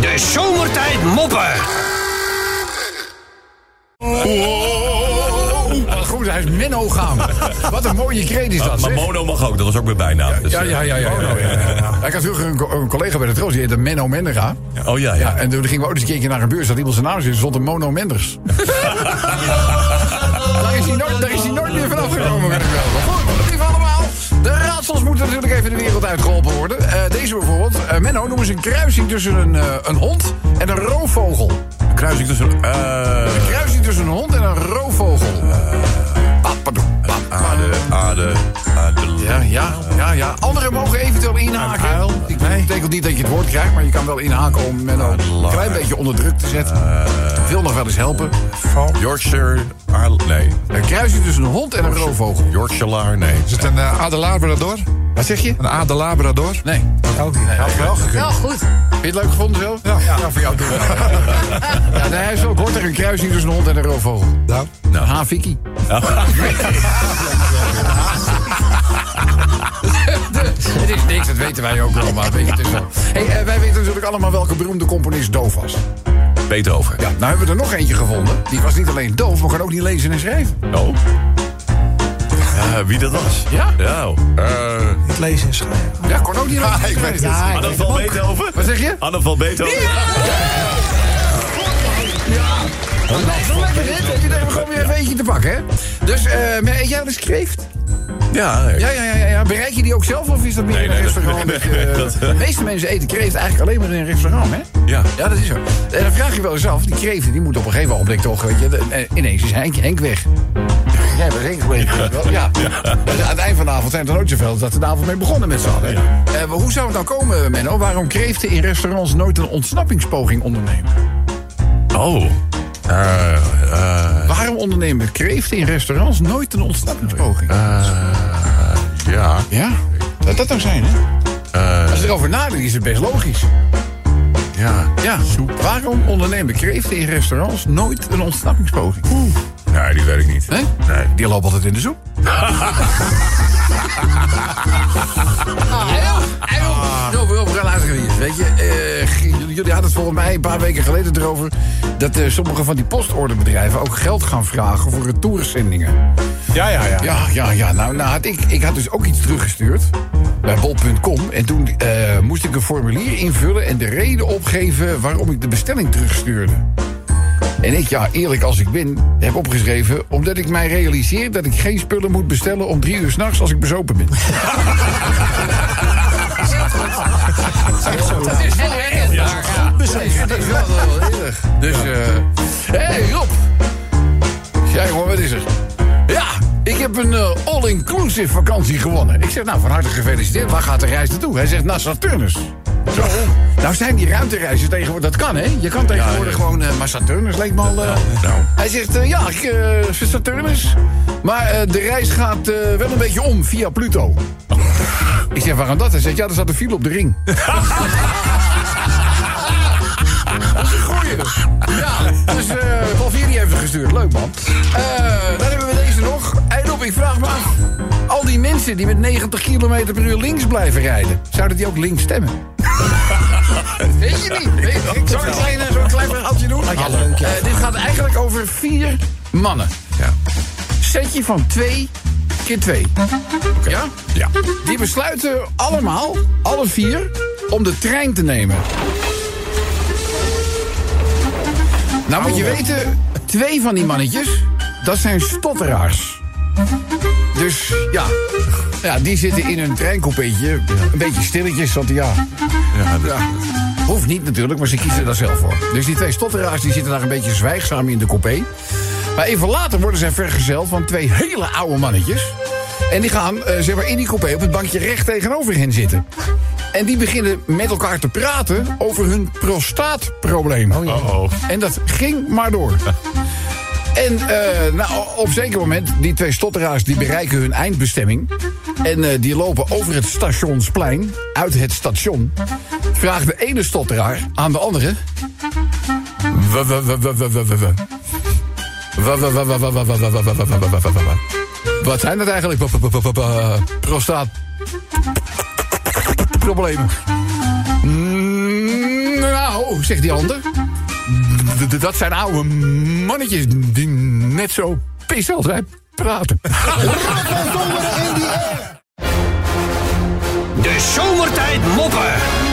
De zomertijd moppen. Oh, Goed, hij is Menno gaan. Wat een mooie kreet is dat, Maar zeg. Mono mag ook, dat was ook mijn bijnaam. Dus, Ja, ja, ja. ja, ja, ja. Ik had vroeger een, co- een collega bij de troost, die heette Menno Mendega. eh, Oh ja, ja. Ja, en toen gingen we ook eens een keertje naar een beurs, dat iemand zijn naam zit, stond een Mono Menders. daar, is hij nooit, daar is hij nooit meer vanaf gekomen, weet ik wel. Maar Goed, lief allemaal. De raadsels moeten natuurlijk even de wereld uitgeholpen worden. Eh, deze bijvoorbeeld. Eh, Menno, noem eens een kruising tussen een, eh, een hond en een roofvogel. Kruising tussen... eh Kruising tussen een hond en een roofvogel. Ah, Papadoe, papadoe. aarde, aarde, aarde. Ja, ja, ja, ja. Anderen mogen eventueel inhaken. Ik betekent niet dat je het woord krijgt, maar je kan wel inhaken om Menno een klein beetje onder druk te zetten. Wil nog wel eens helpen. Yorkshire, aarde, nee. Een kruising tussen dus een hond en een roofvogel. Yorkshire, nee. Is het een eh, adelabrador? Wat zeg je? Een adelabrador? Nee. Ook niet. Had wel gekund. Wel goed. Vind je het leuk gevonden zo? Ja, voor jou. doen. ja, nee, hij is ook. Hoort er een kruising tussen een hond en een roofvogel? Nou, Nou. Haviki. Het is niks, dat weten wij ook wel, maar weet je, het is zo. Hey, eh, wij weten natuurlijk allemaal welke beroemde componist doof was. Eh, Beethoven. Ja, nou hebben we er nog eentje gevonden. Die was niet alleen doof, maar kan ook niet lezen en schrijven. Oh. Eh, wie dat was? Ja? Ja. eh, het lezen en schrijven. Ja, kon ook niet lezen. en schrijven. Ja, ik Anne weet van Beethoven? Wat zeg je? Anne van Beethoven? Lekker, lekker, hè? Heb je daar gewoon weer een beetje te pakken, hè? Dus, eh, maar eet jij wel eens kreeft? Ja, Ja, ja, ja, ja, ja. Bereik je die ook zelf of is dat meer Nee, in een nee, dat- restaurant? nee, dat je- eh, nee, dat- de meeste mensen eten kreeft eigenlijk alleen maar in een restaurant, hè? Ja. Ja, dat is zo. En dan vraag je wel eens af, die kreeft die moet op een gegeven ogenblik toch, weet je, de- eh, ineens is Henk, Henk weg. Jij bent Henk geweest, weet je wel. ja. Dus aan het eind van de avond zijn er nooit zoveel dat we de avond mee begonnen met z'n allen. Eh, maar hoe zou het nou komen, Menno, waarom kreeften in restaurants nooit een ontsnappingspoging ondernemen? Oh. Eh, eh, Waarom ondernemen kreeften in restaurants nooit een ontsnappingspoging? ja. Ja, dat dat nou zijn, hè? Eh, Als je erover nadenkt, is het best logisch. ja. Ja, waarom ondernemen kreeften in restaurants nooit een ontsnappingspoging? Nee, die weet ik niet. Hè? Nee. Die loopt altijd in de soep. Ah, heel- heel- heel- heel veel luisteren hier. Weet je, eh, g- jullie- jullie hadden het volgens mij een paar weken geleden erover... dat eh, sommige van die postorderbedrijven ook geld gaan vragen voor retourzendingen. Ja, ja, ja. Ja, ja, ja. Nou, nou had ik, ik had dus ook iets teruggestuurd bij bol.com. En toen eh, moest ik een formulier invullen en de reden opgeven waarom ik de bestelling terugstuurde. En ik, ja, eerlijk als ik ben, heb opgeschreven... omdat ik mij realiseer dat ik geen spullen moet bestellen... om drie uur s'nachts als ik bezopen ben. Dat is heel erg. Precies. Dat is wel wel heel erg. Dus, eh... Hé, hey, Rob. Ja, jongen, wat is er? Ja, ik heb een eh, all-inclusive vakantie gewonnen. Ik zeg, nou, van harte gefeliciteerd. Waar gaat de reis naartoe? Hij zegt, naar Saturnus. Zo. Nou zijn die ruimtereizen tegenwoordig... Dat kan, hè? Je kan tegenwoordig ja. gewoon... eh, maar Saturnus leek me al... eh, Nou. hij zegt, eh, ja, ik, eh, Saturnus. Maar eh, de reis gaat eh, wel een beetje om via Pluto. ik zeg, waarom dat? Hij zegt, ja, er zat een file op de ring. Goeie. Ja, dus eh Valveri heeft het gestuurd. Leuk, man. Eh, dan hebben we deze nog. Hey, Rob, ik vraag me af. Al die mensen die met 90 km per uur links blijven rijden... zouden die ook links stemmen? Weet je niet. Weet je- Ik zal een klein, eh, zo'n klein verhaaltje doen. Eh, dit gaat eigenlijk over vier mannen. Ja. Setje van twee keer twee. Ja? Ja. Die besluiten allemaal, alle vier, om de trein te nemen. Nou moet je weten, twee van die mannetjes, dat zijn stotteraars. Dus ja, ja die zitten in hun treincoupéetje, een beetje stilletjes, want ja, Ja, dat- ja. Hoeft niet natuurlijk, maar ze kiezen daar zelf voor. Dus die twee stotteraars die zitten daar een beetje zwijgzaam in de coupé. Maar even later worden zij vergezeld van twee hele oude mannetjes. En die gaan eh, zeg maar in die coupé op het bankje recht tegenover hen zitten. En die beginnen met elkaar te praten over hun prostaatproblemen. Uh-oh. En dat ging maar door. En eh, nou, op zeker moment, die twee stotteraars die bereiken hun eindbestemming. En eh, die lopen over het stationsplein, uit het station. Vraagt de ene stotteraar aan de andere... "Wa, wa, wa, wa, wa, wa, wa, wa. Wa, wa, wa, wa, wa, wa, wa, wa, wa, wa, wa, wa, wa, wa, wa. Wat zijn dat eigenlijk? Wa, wa, wa, wa, wa, Prostaat... Problemen. Mm, Nou, Oh, zegt die ander. D- d- Dat zijn oude mannetjes die net zo pissel zijn praten. De zomertijd moppen.